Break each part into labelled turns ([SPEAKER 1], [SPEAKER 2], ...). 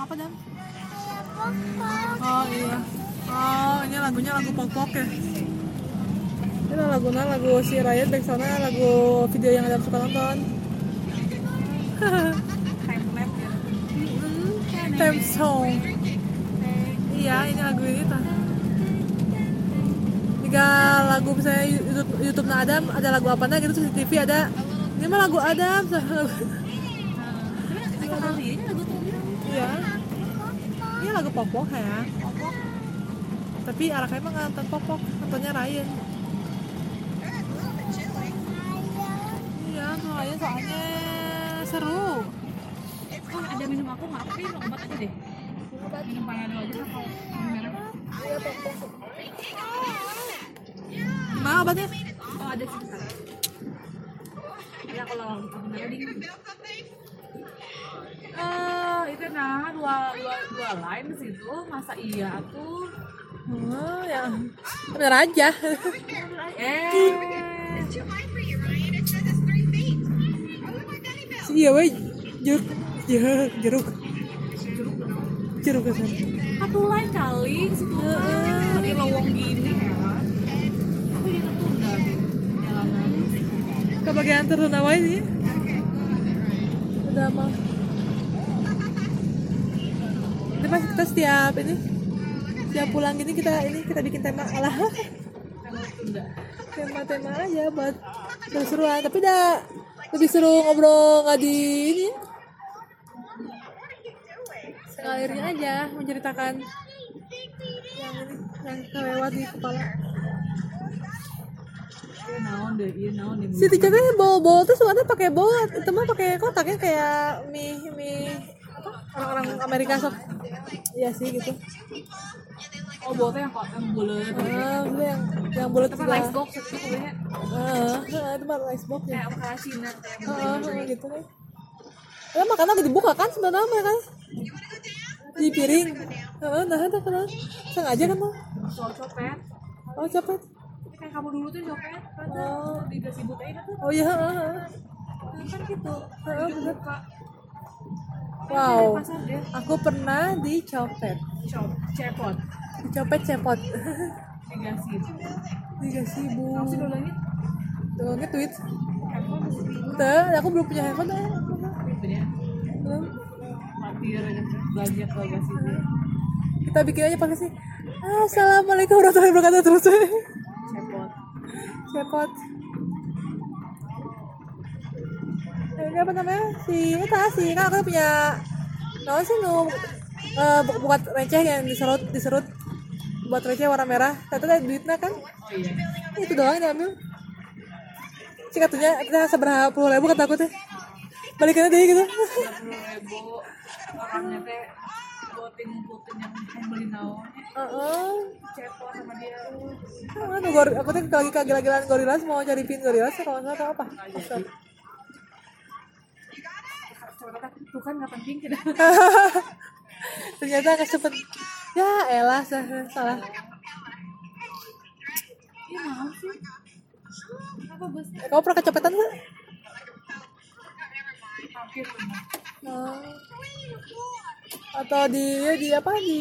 [SPEAKER 1] apa dan oh iya oh ini lagunya lagu pop pop ya ini lagunya lagu si Riot back sana lagu video yang Adam suka nonton
[SPEAKER 2] timelapse ya
[SPEAKER 1] Theme song iya ini lagu ini tuh jika lagu misalnya YouTube YouTube nah Adam ada lagu apa nah gitu terus di TV ada ini mah lagu Adam
[SPEAKER 2] tapi kata Rianya lagu tuh
[SPEAKER 1] iya ini lagu popok ya tapi arahnya emang nggak nonton popok nontonnya Ryan iya nonton Ryan soalnya seru
[SPEAKER 2] oh ada minum aku nggak tapi minum obat aja deh minum panadol aja sama minum merah
[SPEAKER 1] nah obatnya
[SPEAKER 2] oh ada sih bentar. ya kalau sebenarnya dingin eh itu nah dua dua dua line di situ masa iya tuh
[SPEAKER 1] oh ya bener aja
[SPEAKER 2] eh
[SPEAKER 1] iya weh jeruk jeruk jeruk jeruk kesana
[SPEAKER 2] satu line kali situ kan di lowong gini ya aku jadi tertunda deh, jalanan
[SPEAKER 1] ke bagian terunawai sih udah mau ini pas kita setiap ini setiap pulang gini kita ini kita bikin tema alah
[SPEAKER 2] emang tertunda
[SPEAKER 1] tema-tema aja buat seru-seruan tapi udah lebih seru ngobrol nggak di ini ya. Segalirnya aja menceritakan yang ini yang kelewat di kepala
[SPEAKER 2] Iya naon deh iya naon deh
[SPEAKER 1] si Tica teh bowl-bowl tuh semuanya pakai bowl itu mah pakai kotaknya kayak mie mie apa orang-orang Amerika sok iya sih gitu
[SPEAKER 2] oh botnya yang kok yang bulat
[SPEAKER 1] ah itu yang yang bulat
[SPEAKER 2] apa
[SPEAKER 1] sebelah
[SPEAKER 2] rice box ya, itu kuliahnya
[SPEAKER 1] ah ah, itu mah rice box ya
[SPEAKER 2] kayak apa kalah Cina kayak
[SPEAKER 1] ah ah, ah, gitu deh ya makanan udah dibuka kan sebenarnya mereka di piring ah nah itu kenal sengaja kan tuh
[SPEAKER 2] soal copet
[SPEAKER 1] oh cepet
[SPEAKER 2] Tapi ya? kayak kamu dulu tuh copet kan
[SPEAKER 1] Oh.
[SPEAKER 2] di belas ibu teh itu
[SPEAKER 1] oh iya ah, ah.
[SPEAKER 2] kan gitu
[SPEAKER 1] Heeh,
[SPEAKER 2] Itu
[SPEAKER 1] bener.
[SPEAKER 2] buka
[SPEAKER 1] wow
[SPEAKER 2] di pasar dia
[SPEAKER 1] aku pernah dicopet
[SPEAKER 2] shop cepot
[SPEAKER 1] dicopet cepot
[SPEAKER 2] tiga situ
[SPEAKER 1] tiga sibuk
[SPEAKER 2] kamu sih dulu ini
[SPEAKER 1] tuh nge-tweet
[SPEAKER 2] handphone masih tidur
[SPEAKER 1] Tuh, aku belum punya handphone eh.
[SPEAKER 2] gitu ya
[SPEAKER 1] Belum.
[SPEAKER 2] matir belanja ke gas ibu
[SPEAKER 1] Kita bikin aja pakai sih. Ah, Assalamualaikum warahmatullahi wabarakatuh terus.
[SPEAKER 2] cepot
[SPEAKER 1] Cepot. Eh, Ini apa namanya? Si Eta sih kan aku punya Nah sih nu eh, bu- buat receh yang diserut diserut buat receh warna merah. Tapi ada duitnya kan?
[SPEAKER 2] oh iya
[SPEAKER 1] Itu doang yang diambil. Si katanya kita seberapa puluh ribu kata aku teh. Balikannya deh gitu.
[SPEAKER 2] tiga puluh ribu orangnya teh voting ngumputin yang pengen beli naonnya
[SPEAKER 1] Heeh.
[SPEAKER 2] cepot sama dia
[SPEAKER 1] Mana gor aku tuh lagi kagila-gilaan gorilas mau cari pin gorilas ya, kalau nggak tahu apa. Ustaz.
[SPEAKER 2] Coba kata, tuh kan nggak penting tidak
[SPEAKER 1] Ternyata nggak sempet. Ya elah sah- salah.
[SPEAKER 2] Iya mau sih. Apa bosnya?
[SPEAKER 1] Kamu pernah kecopetan nggak?
[SPEAKER 2] Hampir pernah.
[SPEAKER 1] Oh. Atau di ya, di apa di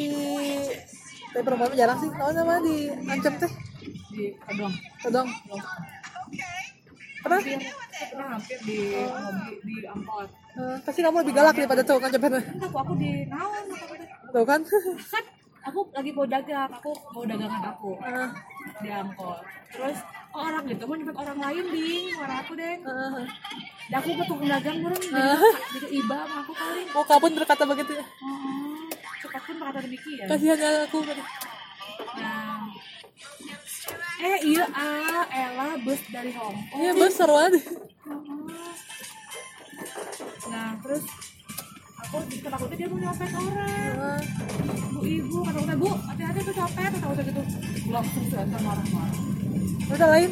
[SPEAKER 1] tapi perempuan mah jarang sih. Tahu nama di ancam teh.
[SPEAKER 2] di kedong.
[SPEAKER 1] Todong. Pernah?
[SPEAKER 2] Hampir, pernah hampir di di, di angkot.
[SPEAKER 1] Eh, pasti kamu lebih galak daripada tuh kan copetnya.
[SPEAKER 2] Enggak, aku, aku di naon aku tuh.
[SPEAKER 1] Tuh kan?
[SPEAKER 2] Kan aku lagi mau dagang, aku mau dagangan aku
[SPEAKER 1] Ah,
[SPEAKER 2] di angkot. Terus orang gitu mau nyepet orang lain di warna aku deh.
[SPEAKER 1] ah, ah.
[SPEAKER 2] Dan aku petung dagang murung di, di iba sama aku kali.
[SPEAKER 1] Oh, kau pun berkata begitu ya.
[SPEAKER 2] Oh, cepat pun berkata demikian.
[SPEAKER 1] Kasihan ya, aku.
[SPEAKER 2] Nah, eh iya ah Ella bus dari Oh, Hong Kong.
[SPEAKER 1] Iya, bos seru banget.
[SPEAKER 2] Nah terus aku takutnya dia mau nyopet orang
[SPEAKER 1] Ah.
[SPEAKER 2] bu ibu kata kata bu hati-hati tuh copet kata kata gitu langsung sudah marah-marah
[SPEAKER 1] Udah lain.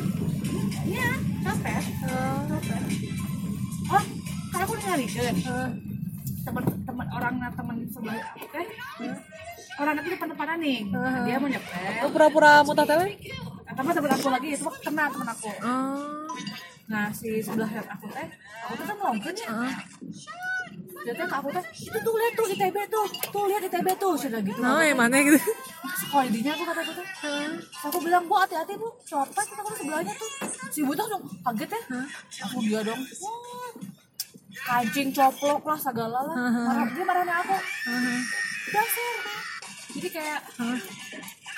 [SPEAKER 2] iya copet
[SPEAKER 1] Ah.
[SPEAKER 2] copet oh karena aku nyarikan
[SPEAKER 1] Ah.
[SPEAKER 2] teman-teman orang teman sebelah aku teh orang itu depan depanan nih
[SPEAKER 1] Heeh.
[SPEAKER 2] dia mau nyopet
[SPEAKER 1] Oh, pura-pura mutah tele?
[SPEAKER 2] sama teman aku lagi itu kena teman aku nah si sebelah aku teh aku tuh kan melongkon ya ternyata aku teh itu tuh lihat tuh ITB tuh tuh lihat ITB tuh sudah gitu
[SPEAKER 1] nah yang mana gitu
[SPEAKER 2] sekolah dinya aku kata aku tuh aku bilang bu hati-hati bu copet kita kan sebelahnya tuh si buta dong kaget ya aku dia dong wah kancing coplok lah segala lah
[SPEAKER 1] Heeh.
[SPEAKER 2] marah dia marahnya aku dasar jadi kayak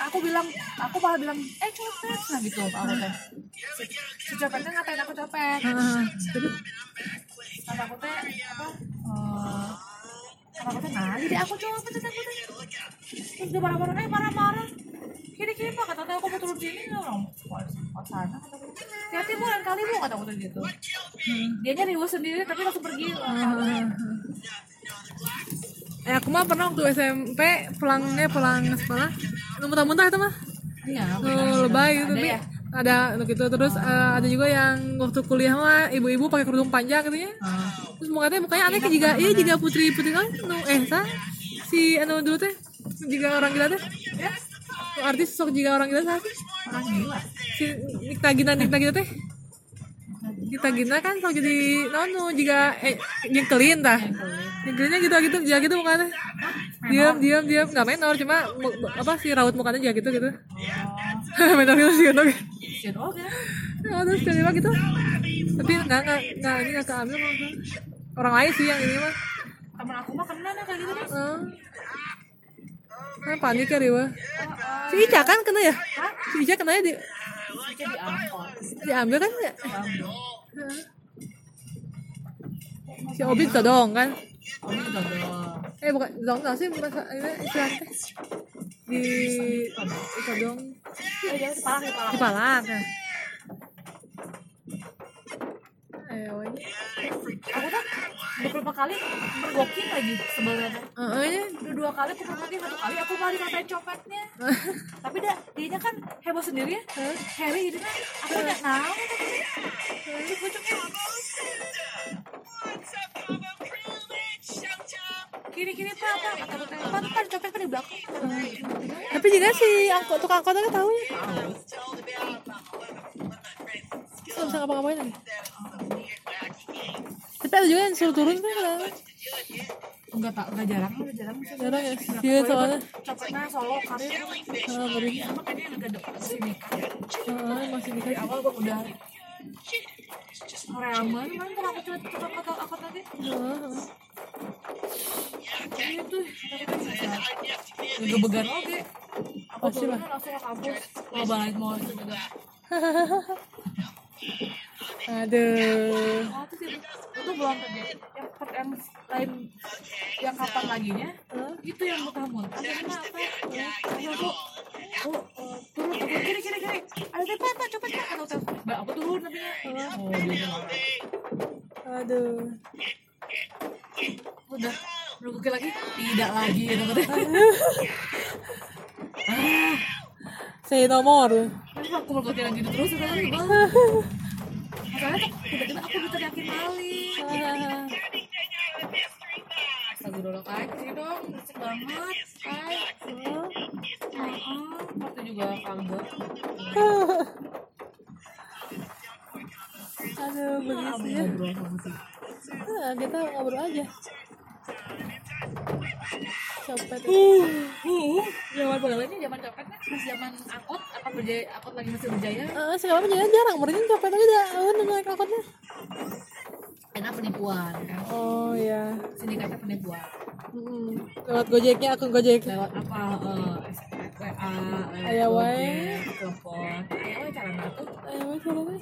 [SPEAKER 2] aku bilang aku malah bilang eh copet nah gitu aku teh si, si copetnya ngatain aku copet kata aku teh apa eh, kata aku teh ngali deh aku coba kata aku teh terus dia marah-marah eh marah-marah kiri kiri pak kata teh aku mau turun sini ya orang kuat sana kata aku hati bu lain kali bu kata aku teh gitu dia nyari sendiri tapi langsung pergi
[SPEAKER 1] eh aku mah pernah waktu SMP pulangnya pulang sekolah muntah-muntah itu mah
[SPEAKER 2] iya
[SPEAKER 1] Oh, lebay gitu
[SPEAKER 2] Ada
[SPEAKER 1] tapi
[SPEAKER 2] ya?
[SPEAKER 1] ada gitu terus eh, ada juga yang waktu kuliah mah ibu-ibu pakai kerudung panjang katanya terus mukanya mukanya aneh kayak jika iya jika putri putri kan nu eh sa si anu dulu teh jika orang gila teh
[SPEAKER 2] ya
[SPEAKER 1] Nu artis sok jika orang gila sa sih
[SPEAKER 2] orang gila Oh,
[SPEAKER 1] si Nikta Gina Nikta Gina teh Nikta Gina kan sok jadi naon nu jika eh nyengkelin tah nyengkelinnya gitu gitu jika gitu mukanya diam diam diam nggak menor cuma mu- apa sih raut mukanya jika gitu gitu menor gitu sih gitu
[SPEAKER 2] shit oke
[SPEAKER 1] Nah, terus tiba-tiba gitu tapi nggak nggak nggak ini nggak keambil kalau nggak salah. orang lain sih yang ini mah
[SPEAKER 2] temen aku mah kena nih kayak gitu kan
[SPEAKER 1] Eh. kan panik ya Dewa si Ica kan kena ya si Ica kena ya di,
[SPEAKER 2] Suci Oh, di angkot
[SPEAKER 1] diambil kan ya?
[SPEAKER 2] Diambil.
[SPEAKER 1] Heeh. si Obi dong kan
[SPEAKER 2] oh ini udah doang
[SPEAKER 1] eh bukan dong nggak sih bukan ini istilah teh. di itu dong
[SPEAKER 2] iya iya parah ya parah
[SPEAKER 1] di Palak ya eh woy.
[SPEAKER 2] aku tuh beberapa kali mergokin lagi sebenarnya
[SPEAKER 1] Eh, eh, nya.
[SPEAKER 2] udah dua kali aku mergokin satu kali aku malah dikatain copetnya tapi dah dianya kan heboh sendiri ya Harry jadi kan aku nggak tahu Cucuk-cucuknya kiri-kiri pak pak kata aku tanya, pak pak copet pak di belakang
[SPEAKER 1] tapi juga si angkot tukang angkot kan tahu ya Terus nggak bisa ngapa-ngapain lagi tapi ada juga yang suruh turun kan kadang
[SPEAKER 2] enggak tak enggak jarang udah jarang sih
[SPEAKER 1] jarang ya iya soalnya
[SPEAKER 2] copetnya solo karir
[SPEAKER 1] ah, ngeri.
[SPEAKER 2] sama kayaknya yang agak dekat sini
[SPEAKER 1] Ah, masih
[SPEAKER 2] dari
[SPEAKER 1] dikasih
[SPEAKER 2] awal gue udah Real banget kan kalau aku coba coba kata aku tadi
[SPEAKER 1] Ah,
[SPEAKER 2] itu gebegan oke aku
[SPEAKER 1] Pasti
[SPEAKER 2] turun
[SPEAKER 1] lah.
[SPEAKER 2] langsung ke kampus mau balik mau itu juga
[SPEAKER 1] ah. aduh
[SPEAKER 2] oh itu sih itu belum kerja yang part yang lain yang kapan laginya
[SPEAKER 1] Hah?
[SPEAKER 2] itu yang muntah muntah karena apa ayo aku aku eh, turun aku kiri kiri kiri ada apa apa coba coba aku tahu mbak aku turun tapi oh dia marah.
[SPEAKER 1] aduh
[SPEAKER 2] udah bergugur lagi tidak lagi gitu ah
[SPEAKER 1] saya nomor
[SPEAKER 2] Terus aku mergokin lagi gitu terus terus terus Masalahnya tuh tiba-tiba aku diteriakin maling Astagfirullah kan, sih dong, berisik banget Kan,
[SPEAKER 1] Iya.
[SPEAKER 2] Heeh, waktu juga kagak
[SPEAKER 1] aduh begitu
[SPEAKER 2] Kamu
[SPEAKER 1] sih ya
[SPEAKER 2] ngobrol sama si
[SPEAKER 1] Ah, kita ngobrol aja copet
[SPEAKER 2] Uh, zaman pegawainya zaman copetnya Pas zaman angkot, apa berjaya, angkot lagi masih berjaya
[SPEAKER 1] Ah, sekarang mah jadi jarang mending copet aja dah awan naik angkotnya
[SPEAKER 2] Enak penipuan kan
[SPEAKER 1] oh ya
[SPEAKER 2] Sindikatnya penipuan
[SPEAKER 1] Mm-mm. lewat gojeknya akun gojek
[SPEAKER 2] Lewat apa, eh, SMS, WA,
[SPEAKER 1] Aya
[SPEAKER 2] lewat
[SPEAKER 1] wae.
[SPEAKER 2] eh, Gojek, telepon Aya wae cara ngatur
[SPEAKER 1] ayo Mas, caranya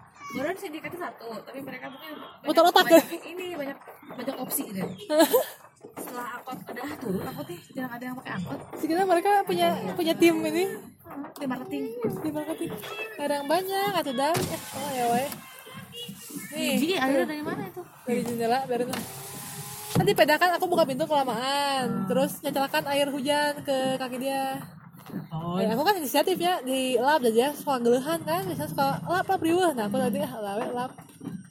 [SPEAKER 2] Baru sindikatnya satu, tapi mereka mungkin banyak-
[SPEAKER 1] Muter otak
[SPEAKER 2] banyak, Ini banyak banyak opsi gitu. Setelah angkot ada ah, turun angkot nih, jarang ada yang pakai angkot.
[SPEAKER 1] sekitar mereka punya punya tim ini
[SPEAKER 2] Hmm, Di marketing.
[SPEAKER 1] tim marketing kadang banyak atau dah eh, oh ya wae
[SPEAKER 2] Jadi
[SPEAKER 1] nih
[SPEAKER 2] akhirnya dari mana itu?
[SPEAKER 1] dari jendela dari tuh tadi pedakan aku buka pintu kelamaan terus nyacalakan air hujan ke kaki dia
[SPEAKER 2] Oh,
[SPEAKER 1] Ya, aku kan inisiatifnya di lap aja suka geluhan kan biasanya suka lap lap riuh nah aku tadi ah lawe lap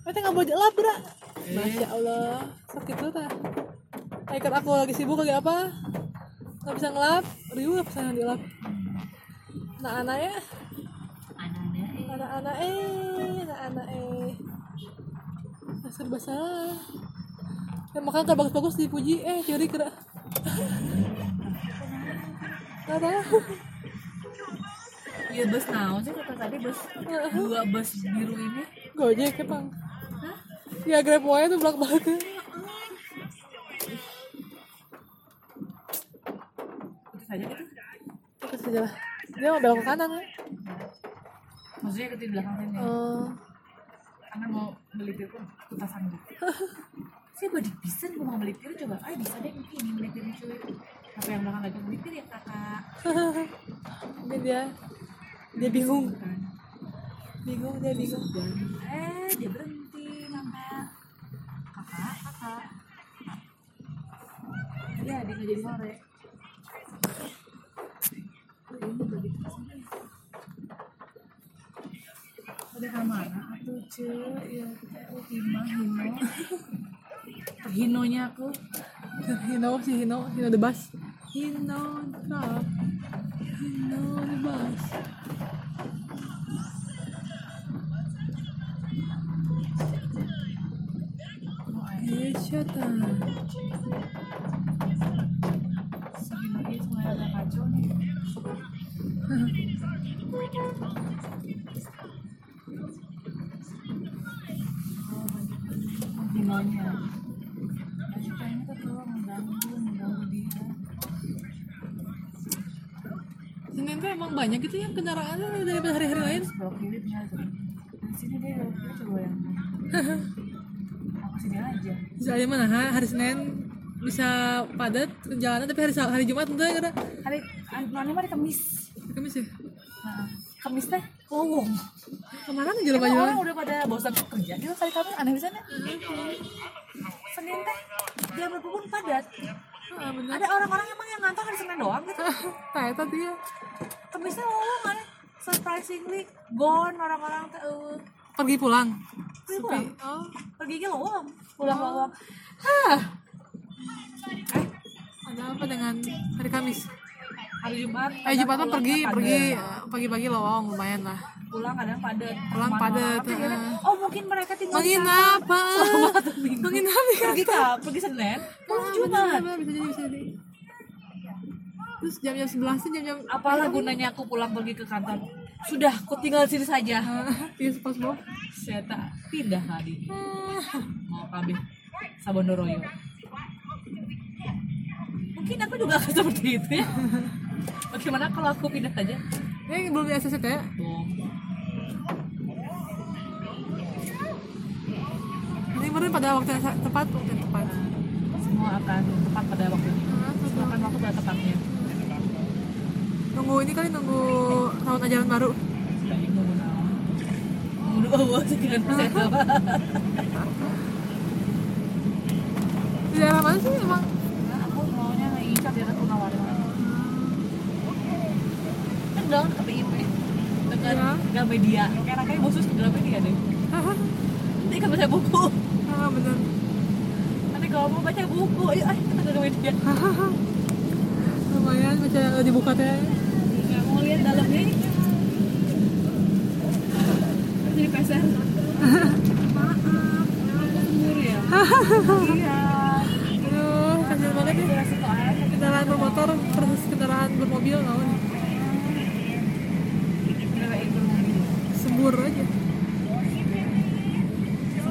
[SPEAKER 1] nanti nggak boleh lap bra masya allah sakit tuh tah Nah, ikut aku lagi sibuk lagi apa nggak bisa ngelap riuh pesan di lap nah anaknya
[SPEAKER 2] anaknya eh,
[SPEAKER 1] anak-anak eh anak-anak eh Nah, serba salah ya, makanya kan bagus-bagus dipuji eh curi kira nggak tahu
[SPEAKER 2] Iya bus naon sih kata tadi bus dua bus biru ini.
[SPEAKER 1] gojek emang
[SPEAKER 2] Hah?
[SPEAKER 1] ya grab wae tuh belak belakan
[SPEAKER 2] Itu saja gitu.
[SPEAKER 1] terus aja lah dia mau belok ke kanan kan
[SPEAKER 2] Maksudnya ketika di belakang sini.
[SPEAKER 1] Eh,
[SPEAKER 2] Karena mau beli tiru pun kutasan gitu. Saya body pisan gue mau beli tiru coba. Ah bisa deh mungkin ini beli tiru cuy. Apa yang belakang lagi beli tiru ya kakak.
[SPEAKER 1] ini dia dia bingung
[SPEAKER 2] Bukan.
[SPEAKER 1] bingung dia bingung
[SPEAKER 2] Kan? Eh dia berhenti mama. Kakak kakak. Ya dia nggak jadi sore. Oh, Ini beli tiru sini. Udah kemana? Aku cuy, ya kita Hima, Hino Hinonya aku
[SPEAKER 1] Hino si Hino Hino the bus Hino the bus Hino the bus
[SPEAKER 2] Mau air.
[SPEAKER 1] Headshot-an.
[SPEAKER 2] Segini aja semua ada kacau nih. Hinonya. Nah, kita ini tuh kalau mengganggu, mengganggu dia.
[SPEAKER 1] Senin tuh emang banyak gitu ya kendaraannya daripada hari-hari lain
[SPEAKER 2] Belok kiri tinggal tuh. Di sini dia belok kiri coba yang Aku sini aja.
[SPEAKER 1] bisa aja mana ha? hari Senin bisa padat jalanan tapi hari Sab- hari Jumat enggak karena
[SPEAKER 2] Hari, an- nonnya mah di Kamis.
[SPEAKER 1] hari Kamis ya
[SPEAKER 2] Nah, Kamis teh lowong.
[SPEAKER 1] kemarin aja lupa
[SPEAKER 2] Emang
[SPEAKER 1] jalan
[SPEAKER 2] orang udah pada bosan kerja gitu kali kamu aneh bisa nih
[SPEAKER 1] Iya,
[SPEAKER 2] Senin teh jam berapa pun padat
[SPEAKER 1] ah bener
[SPEAKER 2] ada orang-orang emang yang ngantor hari Senin doang gitu
[SPEAKER 1] Taeta tuh ya
[SPEAKER 2] Kemisnya lowong kan surprisingly gone orang-orang teh eueuh.
[SPEAKER 1] pergi pulang
[SPEAKER 2] Pergi pulang.
[SPEAKER 1] oh
[SPEAKER 2] pergi ke lowong pulang lowong
[SPEAKER 1] hah
[SPEAKER 2] eh
[SPEAKER 1] ada apa dengan hari Kamis
[SPEAKER 2] hari Jumat
[SPEAKER 1] eh
[SPEAKER 2] kadang
[SPEAKER 1] Jumat mah
[SPEAKER 2] pulang
[SPEAKER 1] pergi
[SPEAKER 2] padat.
[SPEAKER 1] pergi eh, pagi-pagi lowong lumayan lah
[SPEAKER 2] pulang kadang padat
[SPEAKER 1] Pulang
[SPEAKER 2] Malam-malam
[SPEAKER 1] padat, eh.
[SPEAKER 2] teh kadang,
[SPEAKER 1] heeh.
[SPEAKER 2] oh mungkin mereka tinggal di
[SPEAKER 1] menginap ah. menginap ya
[SPEAKER 2] pergi ke pergi Senin
[SPEAKER 1] Ah,
[SPEAKER 2] pulang Jumat
[SPEAKER 1] bener, bener, bisa jadi bisa jadi terus jam-jam sebelas jam-jam
[SPEAKER 2] apalah gunanya aku pulang pergi ke kantor sudah aku tinggal di sini saja
[SPEAKER 1] Iya, pas bawah.
[SPEAKER 2] saya tak pindah hari mau kabeh Sabondoroyo mungkin aku juga akan seperti itu ya bagaimana kalau aku pindah saja
[SPEAKER 1] Ini belum di ACCT ya?
[SPEAKER 2] bohong
[SPEAKER 1] Ini baru pada waktu yang sa- tepat, waktu yang tepat.
[SPEAKER 2] semua akan tepat pada waktunya
[SPEAKER 1] Nah, terus
[SPEAKER 2] semua akan waktu pada tepatnya
[SPEAKER 1] Nunggu ini kali nunggu tahun ajaran baru.
[SPEAKER 2] baik mau naon udah bawa sekian persen apa
[SPEAKER 1] Di daerah mana sih emang?
[SPEAKER 2] Nah, aku maunya ngincar di atas Punawari kan down ke BIP dengan
[SPEAKER 1] Iya.
[SPEAKER 2] Gramedia kayaknya khusus ke Gramedia deh nanti kan baca buku
[SPEAKER 1] ah, bener.
[SPEAKER 2] nanti kalau mau baca buku ayo ayo kita ke Gramedia
[SPEAKER 1] Lumayan, baca dibuka teh.
[SPEAKER 2] nggak mau lihat dalamnya ini jadi peser maaf aku sendiri ya iya
[SPEAKER 1] Aduh, kasihan banget ya.
[SPEAKER 2] Durasi soalnya kan
[SPEAKER 1] Kendaraan bermotor versus kendaraan bermobil, naon.
[SPEAKER 2] kita baik bermobil
[SPEAKER 1] Sembur aja.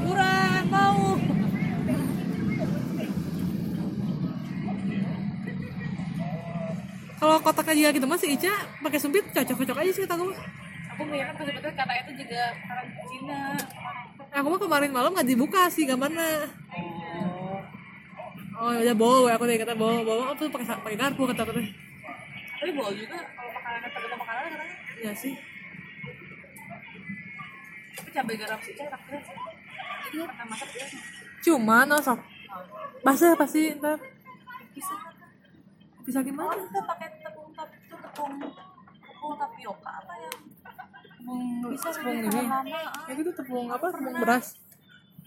[SPEAKER 2] kurang mau
[SPEAKER 1] Kalau kotaknya juga gitu masih Ica pakai sempit cocok-cocok aja sih kita gue.
[SPEAKER 2] aku kan mengingat pas sebetulnya kata itu juga orang Cina
[SPEAKER 1] Aku mah kemarin malam nggak dibuka sih gambarnya. Oh ya udah bawa, aku tadi kata bawa bawa apa tuh pakai pakai garpu kata kata.
[SPEAKER 2] tapi boleh juga kalau makanan tergantung makanan katanya
[SPEAKER 1] Iya sih.
[SPEAKER 2] tapi cabai garam sih enak banget ini pernah masak ya
[SPEAKER 1] Cuman oh sok basah pasti ntar
[SPEAKER 2] bisa
[SPEAKER 1] bisa gimana?
[SPEAKER 2] Orang tuh pakai tepung tap itu tepung tepung tapioka apa ya?
[SPEAKER 1] Tepung
[SPEAKER 2] Bisa
[SPEAKER 1] tepung
[SPEAKER 2] lebih
[SPEAKER 1] ini.
[SPEAKER 2] tahan lama. ah.
[SPEAKER 1] Ya itu tepung apa? Tepung beras.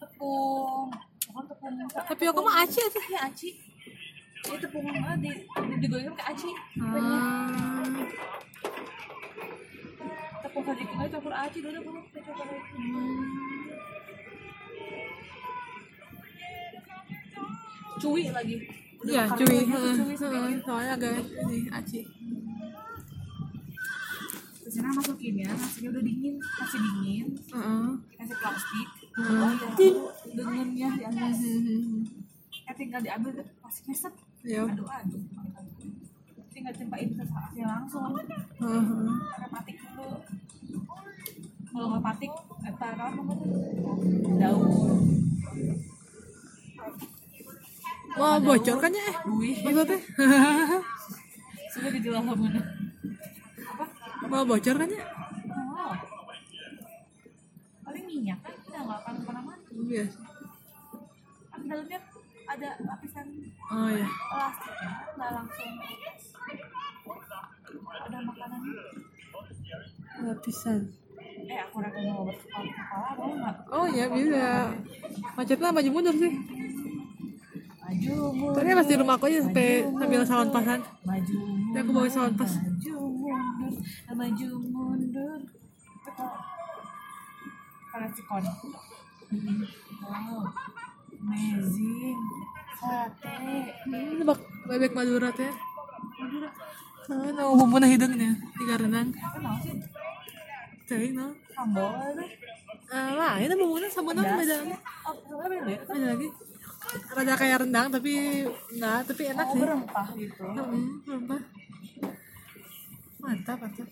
[SPEAKER 2] Tepung bukan tepung
[SPEAKER 1] Tapi aku mah aci sih.
[SPEAKER 2] ya aci. Ini tepung ah, di digoreng ke aci.
[SPEAKER 1] Ah,
[SPEAKER 2] Tepung kaki kita campur aci dulu dulu kita coba dulu.
[SPEAKER 1] hmm.
[SPEAKER 2] cuy lagi Udah
[SPEAKER 1] Iya,
[SPEAKER 2] karena
[SPEAKER 1] cuy.
[SPEAKER 2] dia tuh
[SPEAKER 1] Heeh,
[SPEAKER 2] cuy sampai
[SPEAKER 1] heeh. Soalnya agak ini aci.
[SPEAKER 2] terus Nana masukin ya nasinya udah dingin masih dingin
[SPEAKER 1] Heeh.
[SPEAKER 2] kasih plastik
[SPEAKER 1] Hmm.
[SPEAKER 2] oh ya dengannya diambil
[SPEAKER 1] Hmm.
[SPEAKER 2] eh tinggal diambil deh, plastiknya set
[SPEAKER 1] Ya.
[SPEAKER 2] aduh aduh tinggal tempain ke saatnya langsung
[SPEAKER 1] Heeh.
[SPEAKER 2] pakai patik dulu kalau nggak patik apa apa daun
[SPEAKER 1] Mau bocor kan ya? eh?
[SPEAKER 2] Wih.
[SPEAKER 1] Maksudnya?
[SPEAKER 2] sudah di dalam mana apa
[SPEAKER 1] Mau bocor kan ya?
[SPEAKER 2] wow paling minyak kan kita nggak akan pernah mati
[SPEAKER 1] Iya.
[SPEAKER 2] kan dalamnya ada lapisan
[SPEAKER 1] Oh iya.
[SPEAKER 2] plastik ya, nggak langsung ada makanan
[SPEAKER 1] Lapisan.
[SPEAKER 2] eh aku rasa mau obat kepala kepala boleh nggak
[SPEAKER 1] Oh iya bisa. Macetnya maju mundur sih.
[SPEAKER 2] maju mundur
[SPEAKER 1] Tapi pas di rumah aku aja sampai sambil salon pasan.
[SPEAKER 2] maju mundur
[SPEAKER 1] aku bawa salon pas.
[SPEAKER 2] maju mundur maju mundur Itu kalau sikon wow amazing sate
[SPEAKER 1] Hmm, bak bebek Madura teh. Madura. Nah, bumbu nah hidungnya di garenang.
[SPEAKER 2] kenal sih
[SPEAKER 1] Cai no.
[SPEAKER 2] sambal itu
[SPEAKER 1] Ah, lain bumbunya sama nang beda.
[SPEAKER 2] oh sebenarnya beda ya
[SPEAKER 1] Ada lagi. Rada kayak rendang tapi nah, tapi enak
[SPEAKER 2] oh
[SPEAKER 1] sih.
[SPEAKER 2] berempah gitu
[SPEAKER 1] Hmm, rempah. Mantap, mantap.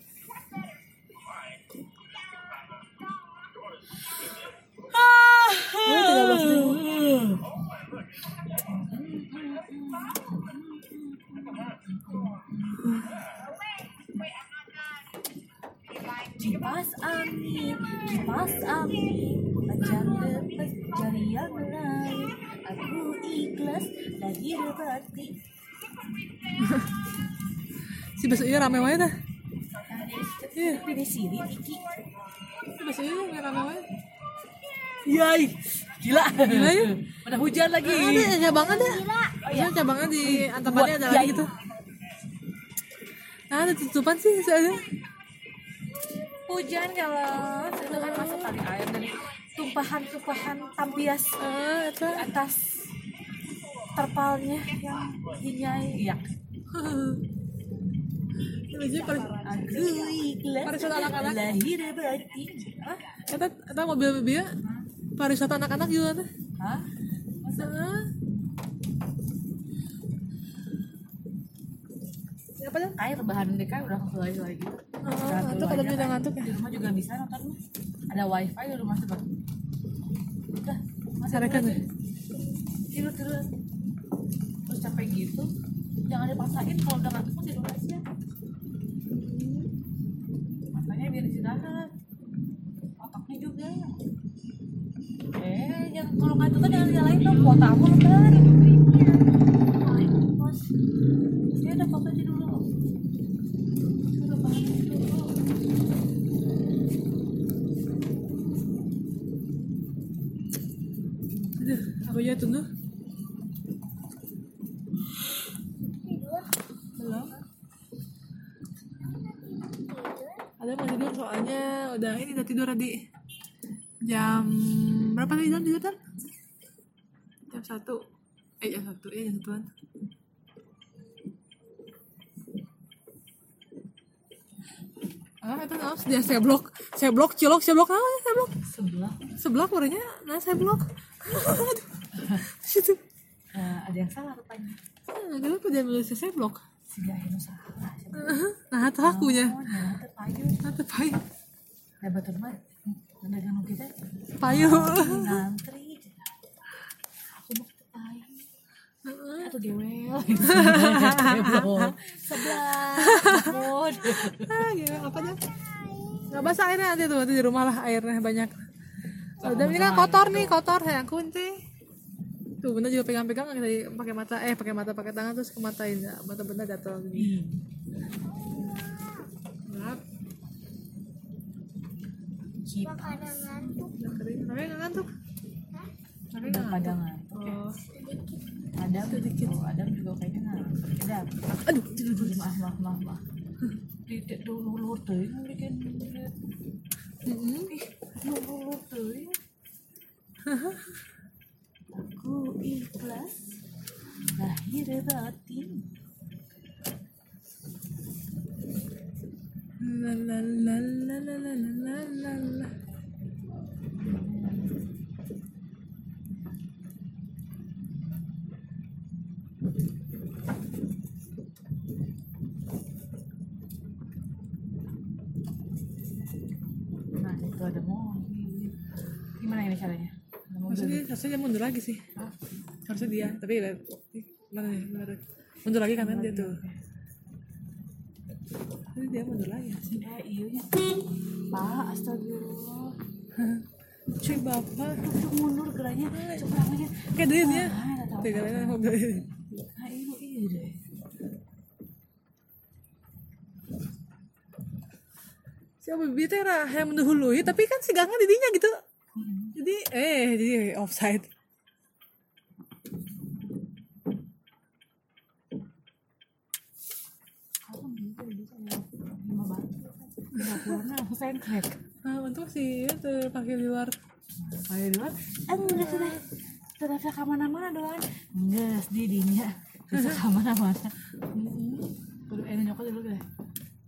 [SPEAKER 1] Oh, 13 ribu.
[SPEAKER 2] kipas angin kipas angin panjang lepas jari yang lain aku ikhlas lagi berarti
[SPEAKER 1] Si besok iya rame wae dah.
[SPEAKER 2] Iya, pilih siri, Iki.
[SPEAKER 1] Si besok iya rame- rame wae.
[SPEAKER 2] Yai, gila.
[SPEAKER 1] Gila ya.
[SPEAKER 2] Ada ya, hujan lagi. Oh,
[SPEAKER 1] Ada ya, cabangnya ada. Iya, cabangnya di Antapani ada lagi gitu. Nah, ada tutupan sih soalnya.
[SPEAKER 2] Hujan kalau itu kan masuk kali air dari tumpahan-tumpahan tampias
[SPEAKER 1] Ah, eta.
[SPEAKER 2] di atas terpalnya yang dinyai. Iya.
[SPEAKER 1] Ini iya aja per-
[SPEAKER 2] Aku ikhlas.
[SPEAKER 1] Pariwisata anak-anak.
[SPEAKER 2] Lahir batin. Hah?
[SPEAKER 1] eta eta mobil-mobilnya pariwisata anak-anak juga Ah. teh.
[SPEAKER 2] Hah?
[SPEAKER 1] Heeh. Apa dah?
[SPEAKER 2] Kayak rebahan mereka udah mulai-mulai gitu.
[SPEAKER 1] Ah, Ngantuk ada udah ngantuk ya.
[SPEAKER 2] Di rumah juga bisa nonton. Ada wifi di rumah sebab. Udah, masih
[SPEAKER 1] Sarekan ya.
[SPEAKER 2] tidur terus terus capek gitu jangan dipaksain kalau udah ngantuk mah tidur aja makanya biar istirahat otaknya juga eh jangan kalau ngantuk tuh jangan nyalain dong kuota aku lebar bos ya udah fokus aja dulu Udah fokus aja dulu.
[SPEAKER 1] Aduh, aku aja ya, tunggu. Belum. Ada mau tidur soalnya udah ini udah tidur tadi jam berapa tadi jam tidur Tan? Jam satu. Eh jam satu, eh jam satuan. Ah, itu naon? Dia saya blok, saya blok, cilok, saya blok, ah, saya blok
[SPEAKER 2] sebelah
[SPEAKER 1] sebelah warnanya nah saya blok aduh situ
[SPEAKER 2] eh, ada yang salah rupanya
[SPEAKER 1] Ah, kenapa dia menulis saya blok
[SPEAKER 2] si Gahino salah
[SPEAKER 1] nah itu akunya
[SPEAKER 2] oh nyala terpayun
[SPEAKER 1] nanti payu
[SPEAKER 2] Ya betul banget. Tenaga nu kita
[SPEAKER 1] payu
[SPEAKER 2] ya. ngantri. Aku mau ke Pai. Atau gewel. Sebelah. Mohon.
[SPEAKER 1] ah gimana apa dah nggak basah airnya nanti tuh nanti di rumah lah airnya banyak udah ini kan kotor nih kotor saya kunci tuh benda juga pegang-pegang kita pakai mata eh pakai mata pakai tangan terus ke matain ya. mata benda gatal gini Maaf,
[SPEAKER 2] Kipas.
[SPEAKER 1] udah kering tapi nggak ngantuk
[SPEAKER 2] Tapi nggak pada ngantuk.
[SPEAKER 1] oh.
[SPEAKER 2] Adam sedikit. Oh, Adam juga kayaknya ngantuk. Adam.
[SPEAKER 1] aduh
[SPEAKER 2] Maaf maaf maaf maaf. Tidak dulu lur teuing bikin.
[SPEAKER 1] Mm-mm.
[SPEAKER 2] Dulu lur teuing. Aku ikhlas. lahir batin
[SPEAKER 1] La la la la la la la la la.
[SPEAKER 2] nah itu ada mobil gimana ini caranya ada mobil Ah.
[SPEAKER 1] Maksudnya harusnya dia mundur lagi sih.
[SPEAKER 2] Hah?
[SPEAKER 1] Harusnya dia, tapi lihat mana nih? Mana? ya. Mundur lagi kanan dia tuh. Tapi dia mundur lagi.
[SPEAKER 2] eh iya nya pak astagfirullah
[SPEAKER 1] Cuy bapak,
[SPEAKER 2] Tuh, tuh, mundur geranya seberang aja
[SPEAKER 1] kayak dia dia.
[SPEAKER 2] ah ada tahu
[SPEAKER 1] Tiga lagi mobil ini.
[SPEAKER 2] ah iya iya deh
[SPEAKER 1] Si Abi teh Rah yang mendahului, tapi kan si Gangnya didinya gitu.
[SPEAKER 2] Hmm.
[SPEAKER 1] Jadi eh jadi offside.
[SPEAKER 2] aku bisa bisa ya lima batu lima puluhnya sengklek
[SPEAKER 1] Nah, untuk si itu pakai di luar.
[SPEAKER 2] ayo duluan eh udah sudah sudah bisa kemana-mana doang enggak di dinya bisa kemana-mana kudu enak eh, nyokot dulu deh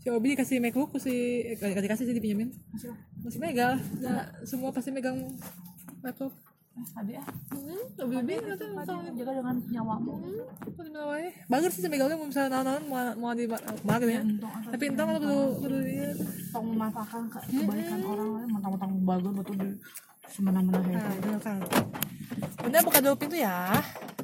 [SPEAKER 1] Si Obi dikasih MacBook ku si eh, kasih kasih sih dipinjemin.
[SPEAKER 2] masih lah
[SPEAKER 1] Masih megal. Nah, semua pasti megang laptop.
[SPEAKER 2] eh tadi ah
[SPEAKER 1] Hmm, Obi Obi kata
[SPEAKER 2] Tadi
[SPEAKER 1] misalnya
[SPEAKER 2] jaga dengan nyawamu
[SPEAKER 1] apa di mana wae. Bagus sih si megalnya mau misalnya naon-naon mau mau di bagus ya.
[SPEAKER 2] untung atau
[SPEAKER 1] Tapi entah kalau perlu perlu iya. dia.
[SPEAKER 2] tong memanfaatkan ke- kebaikan orang lain mentang-mentang bagus betul di semena-mena hebat
[SPEAKER 1] Nah, bener kan. Bunda buka dulu pintu ya.